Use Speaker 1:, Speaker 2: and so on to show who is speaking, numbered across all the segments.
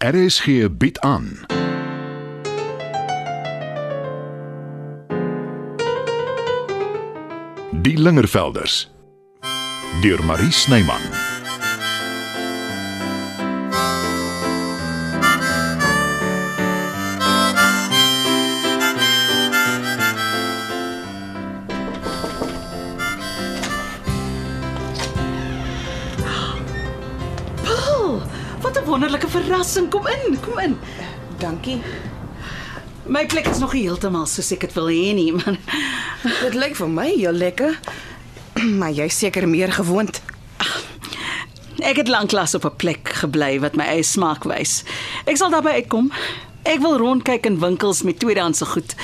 Speaker 1: RSG bied aan. Die Lingervelders deur Marie Snyman.
Speaker 2: Paul, Oh, wat 'n wonderlike verrassing. Kom in, kom in.
Speaker 3: Dankie.
Speaker 2: My plek is nog nie heeltemal soos ek dit wil hê nie, man.
Speaker 3: Dit lyk vir my heel lekker. Maar jy's seker meer gewoond.
Speaker 2: Ek het lanklaas op 'n plek gebly wat my eie smaak wys. Ek sal daarby uitkom. Ek wil rondkyk in winkels met tweedehandse goed.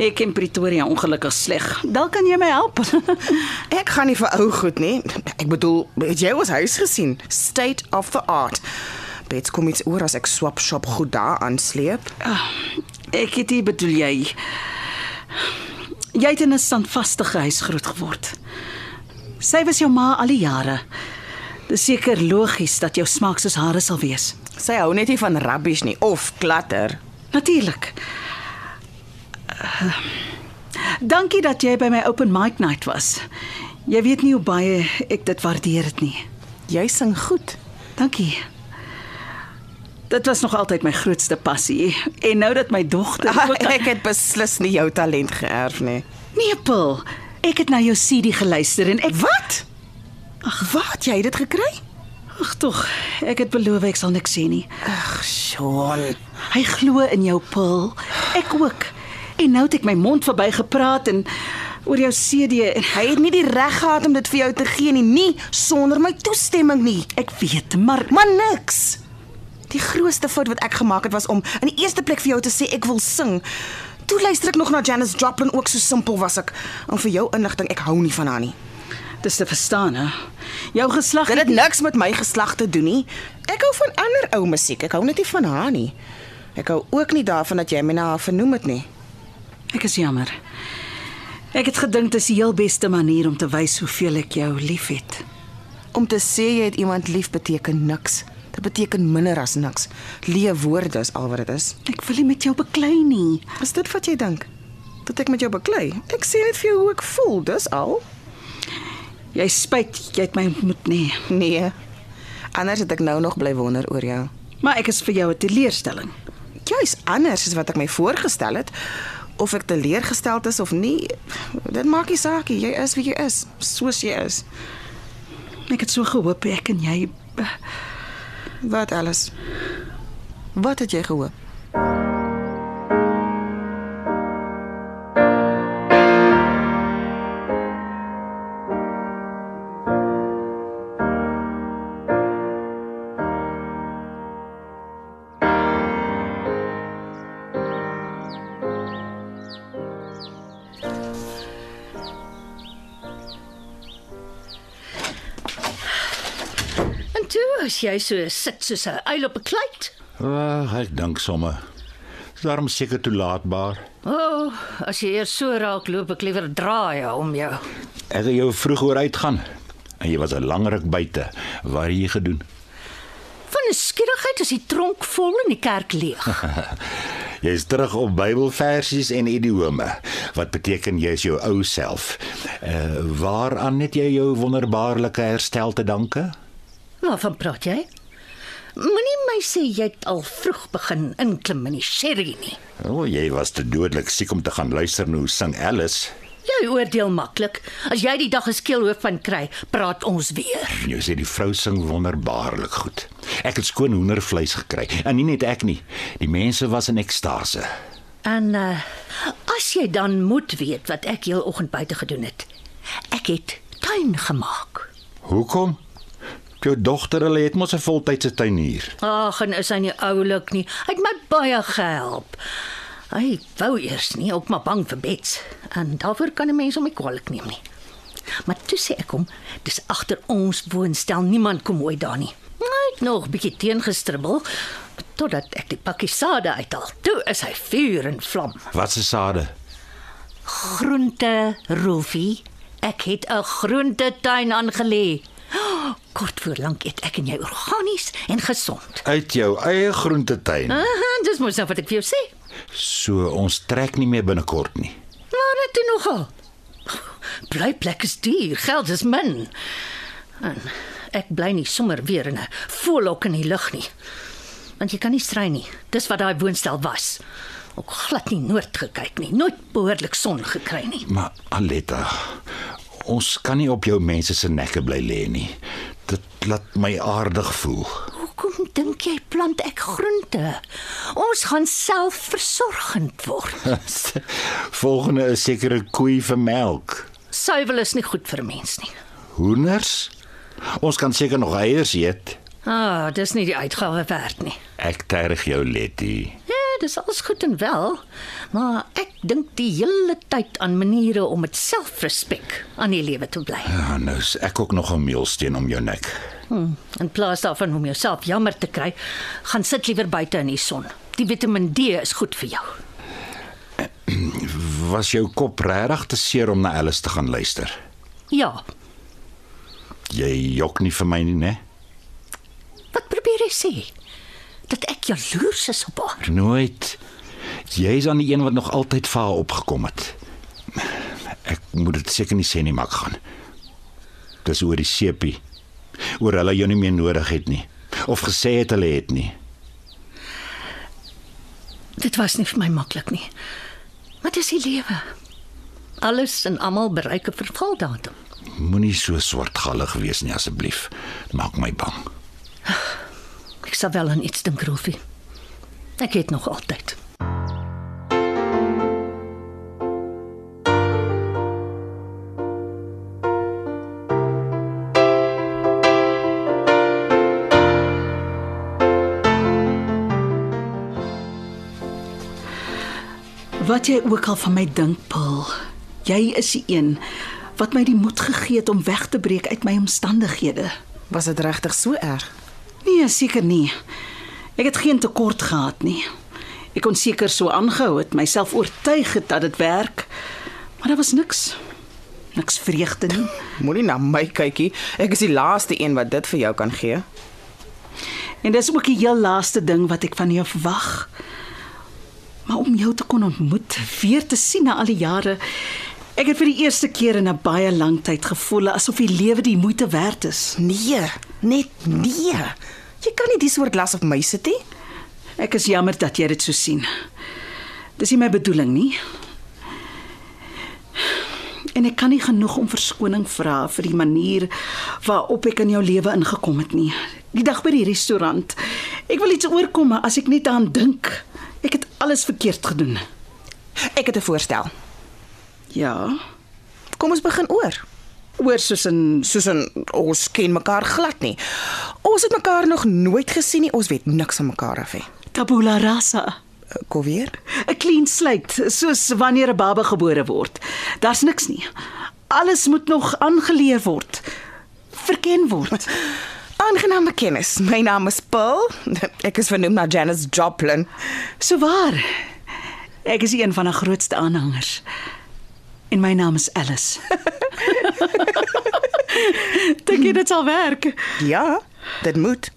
Speaker 2: Ek ken Pretoria ongelukkig sleg. Dalk kan jy my help.
Speaker 3: Ek gaan nie vir ou goed nie. Ek bedoel, het jy ons huis gesien? State of the art. Bets kom iets oor as ek swap shop goed daar aansleep.
Speaker 2: Ah, ek het nie bedoel jy. Jy het in 'n standvaste huis groot geword. Sy was jou ma al die jare. Dis seker logies dat jou smaak soos hare sal wees.
Speaker 3: Sy hou net nie van rubbish nie of klatter.
Speaker 2: Natuurlik. Ah, Dankie dat jy by my open mic night was. Jy weet nie hoe baie ek dit waardeer het nie.
Speaker 3: Jy sing goed.
Speaker 2: Dankie. Dit was nog altyd my grootste passie en nou dat my dogter
Speaker 3: Ah,
Speaker 2: ook
Speaker 3: ek het beslis nie jou talent geërf nie.
Speaker 2: Nepel. Ek het na jou CD geluister en ek
Speaker 3: Wat? Ag, wat jy het dit gekry?
Speaker 2: Ag tog, ek het beloof ek sal niks sê nie.
Speaker 3: Ag, Sean.
Speaker 2: Hy glo in jou pil. Ek ook. En nou het ek my mond verby gepraat en oor jou CD en
Speaker 3: Hy het nie die reg gehad om dit vir jou te gee nie, nie sonder my toestemming nie.
Speaker 2: ek weet, maar
Speaker 3: Maar niks. Die grootste fout wat ek gemaak het was om in die eerste plek vir jou te sê ek wil sing. Toe luister ek nog na Janis Joplin ook so simpel was ek. En vir jou inligting, ek hou nie van haar nie.
Speaker 2: Dis te verstaan, hè? Jou geslag
Speaker 3: Dit het niks met my geslag te doen nie. Ek hou van ander ou musiek. Ek hou net nie van haar nie. Ek hou ook nie daarvan dat jy my na haar vernoem het nie.
Speaker 2: Ek is jammer. Ek het gedink dis die heel beste manier om te wys hoeveel ek jou liefhet.
Speaker 3: Om te sê jy het iemand lief beteken niks. Dit beteken minder as niks. Leë woorde is al wat dit is.
Speaker 2: Ek wil nie met jou beklei nie.
Speaker 3: Is dit wat jy dink? Dat ek met jou baklei? Ek sê net vir jou hoe ek voel, dis al.
Speaker 2: Jy spyt jy het my ontmoet nie,
Speaker 3: Nee. Anders het ek nou nog bly wonder oor jou.
Speaker 2: maar ek is vir jou 'n teleurstelling.
Speaker 3: Jy's anders as wat ek my voorgestel het. Of ek teleurgesteld is of nie, dit maak nie saak nie. Jy is wie jy is, soos jy is.
Speaker 2: Ek het so gehoop ek en jy
Speaker 3: Wat alles. Wat het jy gehoop?
Speaker 4: En toe as jy so sit soos 'n uil op 'n kluit.
Speaker 5: Ag, Ah, ek dink somme. Is Daarom seker toelaatbaar.
Speaker 4: O, oh, as jy eers so raak loop ek liewer draai om jou.
Speaker 5: Ek het jou vroeg oor uitgaan en jy was 'n lang ruk buite. Wat het jy gedoen?
Speaker 4: Van 'n skierigheid is die tronk vol en die kerk leeg.
Speaker 5: Jy's terug op Bybelversies en idiome. Wat beteken jy is jou ou self? Uh waaraan net jy jou wonderbaarlike herstel te danke?
Speaker 4: Waarvan praat jy? Moenie my sê jy het al vroeg begin inklim in die sherry nie.
Speaker 5: O, oh, jy was te dodelik siek om te gaan luister na hoe sing Alice.
Speaker 4: Jy oordeel maklik. As jy die dag 'n skeelhoof van kry, praat ons weer.
Speaker 5: En Jy nou sê die vrou sing wonderbaarlik goed. Ek het skoon hoendervleis gekry en nie net ek nie. Die mense was in ekstase.
Speaker 4: En uh, as jy dan moet weet wat ek heel oggend buite gedoen het. Ek het tuin gemaak.
Speaker 5: Hoekom? Jou dogter, hulle het mos 'n voltydse tuin hier.
Speaker 4: Ag, en is hy nie oulik nie. Hy het my baie gehelp. Hy wou eers nie, ook maar bang vir bets. En daarvoor kan 'n mens hom nie kwaliek neem nie. Maar toe sê ek hom, dis agter ons woonstel, niemand kom ooit daar nie. Hy het nog 'n bietjie teengestribbel totdat ek die pakkie sade uithaal. Toe is hy vuur en vlam.
Speaker 5: Wat se sade?
Speaker 4: Groente, Rolfie, ek het 'n groentetuin aangelê. Kort voor lank eet ek en jy organies en gesond.
Speaker 5: uit jou eie groentetein. Huh?
Speaker 4: Aha, dis mos nou wat ek vir jou sê.
Speaker 5: So ons trek nie meer binnekort nie.
Speaker 4: Maar dit doen nogal. Blyplek is duur, geld is min. En ek bly nie sommer weer in 'n voorlok in die lug nie. Want jy kan nie strei nie. Dis wat daai woonstel was. Ook glad nie noord gekyk nie, nooit behoorlik son gekry nie.
Speaker 5: Maar Aletta, ons kan nie op jou mense se nekke bly lê nie. Dit laat my aardig voel.
Speaker 4: Hoekom dink jy plant ek groente? Ons gaan self versorgend word.
Speaker 5: Volgende is seker 'n koei vir melk.
Speaker 4: Suiwel is nie goed vir 'n mens nie.
Speaker 5: Hoenders? Ons kan seker nog eiers eet.
Speaker 4: Ah, dis nie die uitgawe werd nie.
Speaker 5: Ek terg jou Letty.
Speaker 4: Ja, dis alles goed en wel, maar ek dink die hele tyd aan maniere om met selfrespek aan die lewe te bly.
Speaker 5: Ja, nou is ek ook nog 'n meelsteen om jou nek.
Speaker 4: Hmm, in plaas daarvan om jouself jammer te kry, gaan sit liewer buite in die son. Die Vitamiin D is goed vir jou.
Speaker 5: Was jou kop regtig te seer om na Alice te gaan luister?
Speaker 4: Ja.
Speaker 5: Jy jok nie vir my nie, né?
Speaker 4: Wat probeer jy sê? Dat ek jaloers is op haar.
Speaker 5: Nooit. Jy's aan die een wat nog altyd vir haar opgekom het. Ek moet dit seker nie sê nie, maar ek gaan. Dis oor die seepie. Oor hulle jou nie meer nodig het nie of gesê het hulle het nie.
Speaker 4: Dit was nie vir my maklik nie. Maar dis die lewe. Alles en almal bereik 'n vervaldatum.
Speaker 5: Moenie so swartgallig wees nie asseblief. Dit maak my bang.
Speaker 4: Ek sal wel aan iets dink, Rolfie. Ek het nog altyd.
Speaker 2: Wat jy ook al van my dink, Paul, jy is die een wat my die moed gegee het om weg te breek uit my omstandighede.
Speaker 3: Was dit regtig so erg?
Speaker 2: Nee, seker nie. Ek het geen tekort gehad nie. Ek kon seker so aangehou het, myself oortuig het dat dit werk. Maar daar was niks. Niks vreugde nie.
Speaker 3: Moenie na my kykie. Ek is die laaste een wat dit vir jou kan gee.
Speaker 2: En dis ook die heel laaste ding wat ek van jou verwag. Maar om jou te kon ontmoet, weer te sien na al die jare. Ek het vir die eerste keer in 'n baie lang tyd gevoel asof die lewe die moeite werd is.
Speaker 3: Nee, net nee. Jy kan nie die soort las op my sit nie.
Speaker 2: Ek is jammer dat jy dit so sien. Dis nie my bedoeling nie. En ek kan nie genoeg om verskoning vra vir die manier waarop ek in jou lewe ingekom het nie. Die dag by die restaurant. Ek wil iets oorkom, maar as ek net daaraan dink, ek het alles verkeerd gedoen.
Speaker 3: Ek het 'n voorstel.
Speaker 2: Ja.
Speaker 3: Kom ons begin oor.
Speaker 2: Oor soos in
Speaker 3: Soos in, ons ken mekaar glad nie. Ons het mekaar nog nooit gesien nie. Ons weet niks van mekaar af Eh, nie.
Speaker 2: tabula rasa.
Speaker 3: Kom weer.
Speaker 2: 'n Clean slate, soos wanneer 'n baba gebore word. Daar's niks nie. Alles moet nog aangeleer word. Verken word.
Speaker 3: Aangename kennis. My naam is Paul. Ek is vernoem na Janice Joplin.
Speaker 2: So waar. Ek is een van haar grootste aanhangers. En my naam is Alice. Dink jy dit sal werk?
Speaker 3: Ja, dit moet.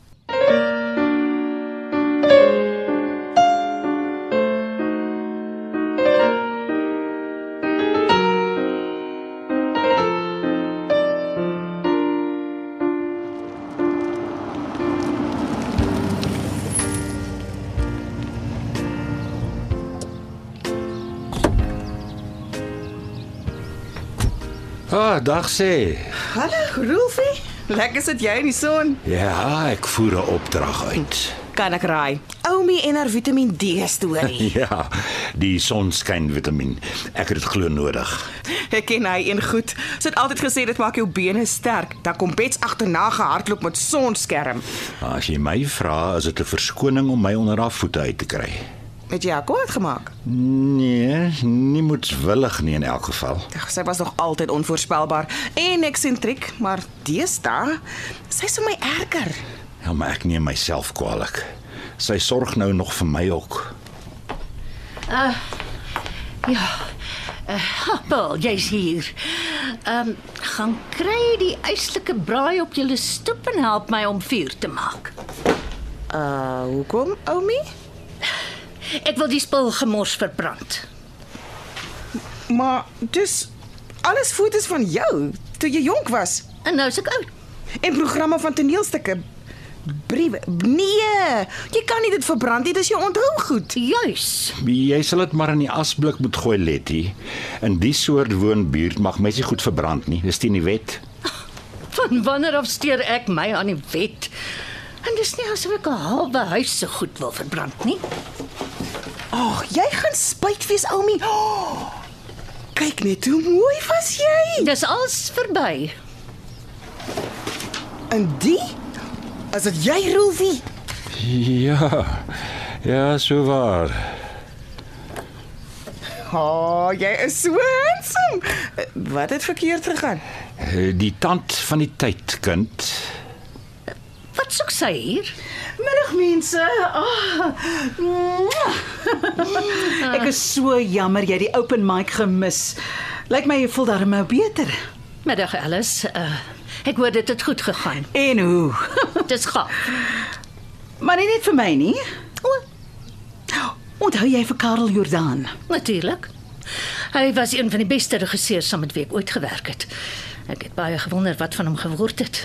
Speaker 5: Ah, dag sê.
Speaker 3: Hallo, Rolfie. Lekker sit jy in die son.
Speaker 5: Ja, ek voer 'n opdrag uit.
Speaker 3: Kan ek raai? Oumi en haar Vitamiin D storie.
Speaker 5: Ja, die sonskyn vitamien. Ek het dit glo nodig.
Speaker 3: Ek ken hy een goed. Sy het altyd gesê dit maak jou bene sterk. Dan kom Bets agterna gehardloop met sonskerm.
Speaker 5: Maar as jy my vra, is dit 'n verskoning om my onder haar voete uit te kry.
Speaker 3: Het jy akkoord gemaak?
Speaker 5: Nee, nie moetswillig nie in elk geval.
Speaker 3: Ag, sy was nog altyd onvoorspelbaar en eksentriek, maar deesdae sy sou my erger.
Speaker 5: Ja, maar ek neem myself kwaliek. Sy sorg nou nog vir my ook.
Speaker 4: Ja. Uh, Paul, jy's eh, hier. Ehm um, gaan kry die yslike braai op julle stoep en help my om vuur te maak.
Speaker 3: Uh, hoekom, Oumi?
Speaker 4: Ek wil die spul gemors verbrand.
Speaker 3: Maar dis alles foto's van jou toe jy jonk was
Speaker 4: En nou is ek oud.
Speaker 3: en programme van toneelstukke. Briewe. Nee, jy kan nie dit verbrand nie, dis jou onthou goed.
Speaker 4: Juis.
Speaker 5: Jy sal dit maar in die asblik moet gooi, Letty. In die soort woonbuurt mag mense goed verbrand nie. Dis teen die wet.
Speaker 4: Van wanneer af steur ek my aan die wet? En dis nie asof ek 'n halwe huis se goed wil verbrand nie.
Speaker 3: Ag, jy gaan spyt wees, Oumi. Oh, kyk net hoe mooi was jy.
Speaker 4: Dis als verby.
Speaker 3: En die? As dit jy Rolfie.
Speaker 5: Ja. Ja, so waar.
Speaker 3: Ha, oh, jy is so handsome. Eh, Wat het verkeerd gegaan?
Speaker 5: Eh, Die tand van die tyd, kind.
Speaker 4: Wat soek sy hier?
Speaker 2: Middag mense. Ah. Oh. Ek is so jammer jy het die open mic gemis. Lyk my jy voel darm nou beter.
Speaker 4: Middag Alice. Uh, ek hoor dit het goed gegaan.
Speaker 2: En hoe?
Speaker 4: Dis gaaf.
Speaker 2: Maar nie net vir my nie.
Speaker 4: O,
Speaker 2: Onthou jy vir Karel Jordan?
Speaker 4: natuurlik. Hy was een van die beste regisseurs saam met wie ek ooit gewerk het. Ek het baie gewonder wat van hom geword het.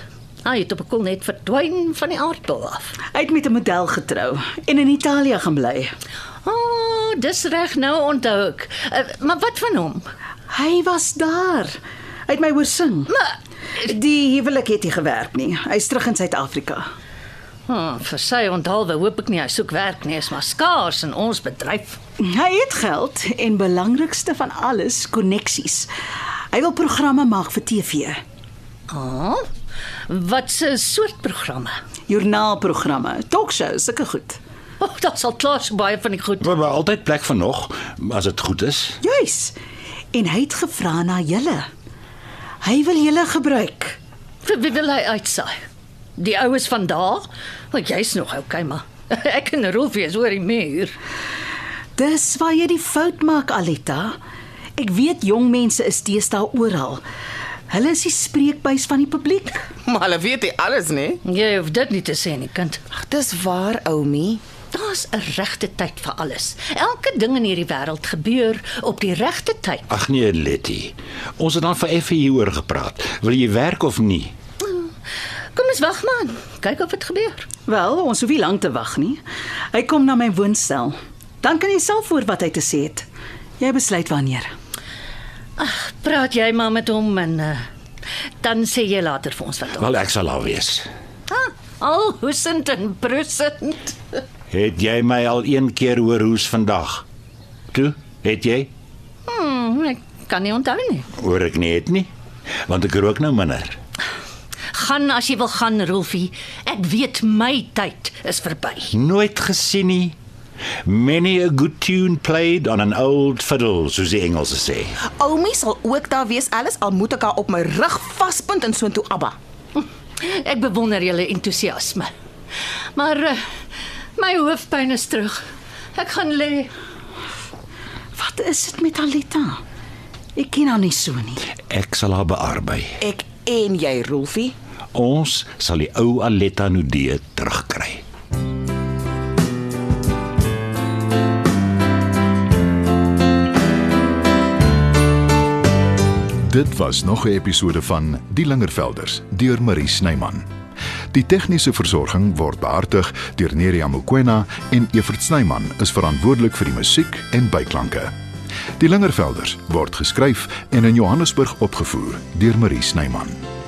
Speaker 4: Hy het op 'n koel net verdwyn van die aardbol af.
Speaker 2: Hy het met 'n model getrou en in Italië gaan bly.
Speaker 4: Oh, dis reg nou onthou ek. Uh, maar wat van hom?
Speaker 2: Hy was daar. Hy het my hoor sing.
Speaker 4: Maar
Speaker 2: Die huwelik het nie gewerk nie. Hy's terug in Suid-Afrika.
Speaker 4: oh, vir sy onthaalwe hoop ek nie hy soek werk nie, is maar skaars in ons bedryf.
Speaker 2: Hy het geld en belangrikste van alles, koneksies. Hy wil programme maak vir TV,
Speaker 4: Ah. Oh, wat 'n soort programme.
Speaker 2: joernaalprogramme, talkshows, sulke goed.
Speaker 4: Oh, dit sal klaar so baie van die goed.
Speaker 5: Maar maar altyd plek vir nog as dit goed is.
Speaker 2: Juis. En hy het gevra na julle. Hy wil julle gebruik.
Speaker 4: Vir wie wil hy uitsaai? Die oues van daar? Want jy's nog okay, maar ek en Rolfie is oor die muur.
Speaker 2: Dis waar jy die fout maak, Alita. Ek weet jong mense is teestaal oral. Hulle is die spreekbuis van die publiek.
Speaker 3: Maar hulle weet nie alles nie.
Speaker 4: Jy hoef dit nie te sê nie, kind.
Speaker 3: Ag, dis waar, Oumi.
Speaker 4: Daar's 'n regte tyd vir alles. Elke ding in hierdie wêreld gebeur op die regte tyd.
Speaker 5: Ag nee, Letty. Ons het dan vir effe hieroor gepraat. Wil jy werk of nie?
Speaker 4: Kom ons wag man. Kyk of dit gebeur.
Speaker 2: Wel, ons hoef nie lank te wag nie. Hy kom na my woonstel. Dan kan jy self hoor wat hy te sê het. Jy besluit wanneer.
Speaker 4: Praat jy maar met hom en uh, dan sê jy later vir ons wat.
Speaker 5: Wel ek sal daar wees.
Speaker 4: Ah, al hoesend en brusend.
Speaker 5: Het jy my al een keer hoor hoes vandag? Toe, het jy?
Speaker 4: Hmm, ek kan nie onthou nie.
Speaker 5: Hoor ek nie het nie. Want ek rook nou minder.
Speaker 4: Gaan as jy wil gaan, Rolfie. Ek weet my tyd is verby.
Speaker 5: Nooit gesien nie. Many a good tune played on an old fiddle, soos die Engelse sê.
Speaker 3: Oumi sal ook daar wees, alles al moet ek haar op my rug vaspunt en soontoe Abba.
Speaker 4: Ek bewonder julle entoesiasme. Maar uh, my hoofpyn is terug. Ek gaan lê.
Speaker 2: Wat is dit met Alita? Ek ken haar nie so nie.
Speaker 5: Ek sal haar bearbei.
Speaker 3: Ek en jy, Rolfie.
Speaker 5: Ons sal die ou Aletta Nudee terugkry.
Speaker 1: Dit was nog 'n episode van Die Lingervelders deur Marie Snyman. Die tegniese versorging word behartig deur Neriya Mukwena en Evert Snyman is verantwoordelik vir die musiek en byklanke. Die Lingervelders word geskryf en in Johannesburg opgevoer deur Marie Snyman.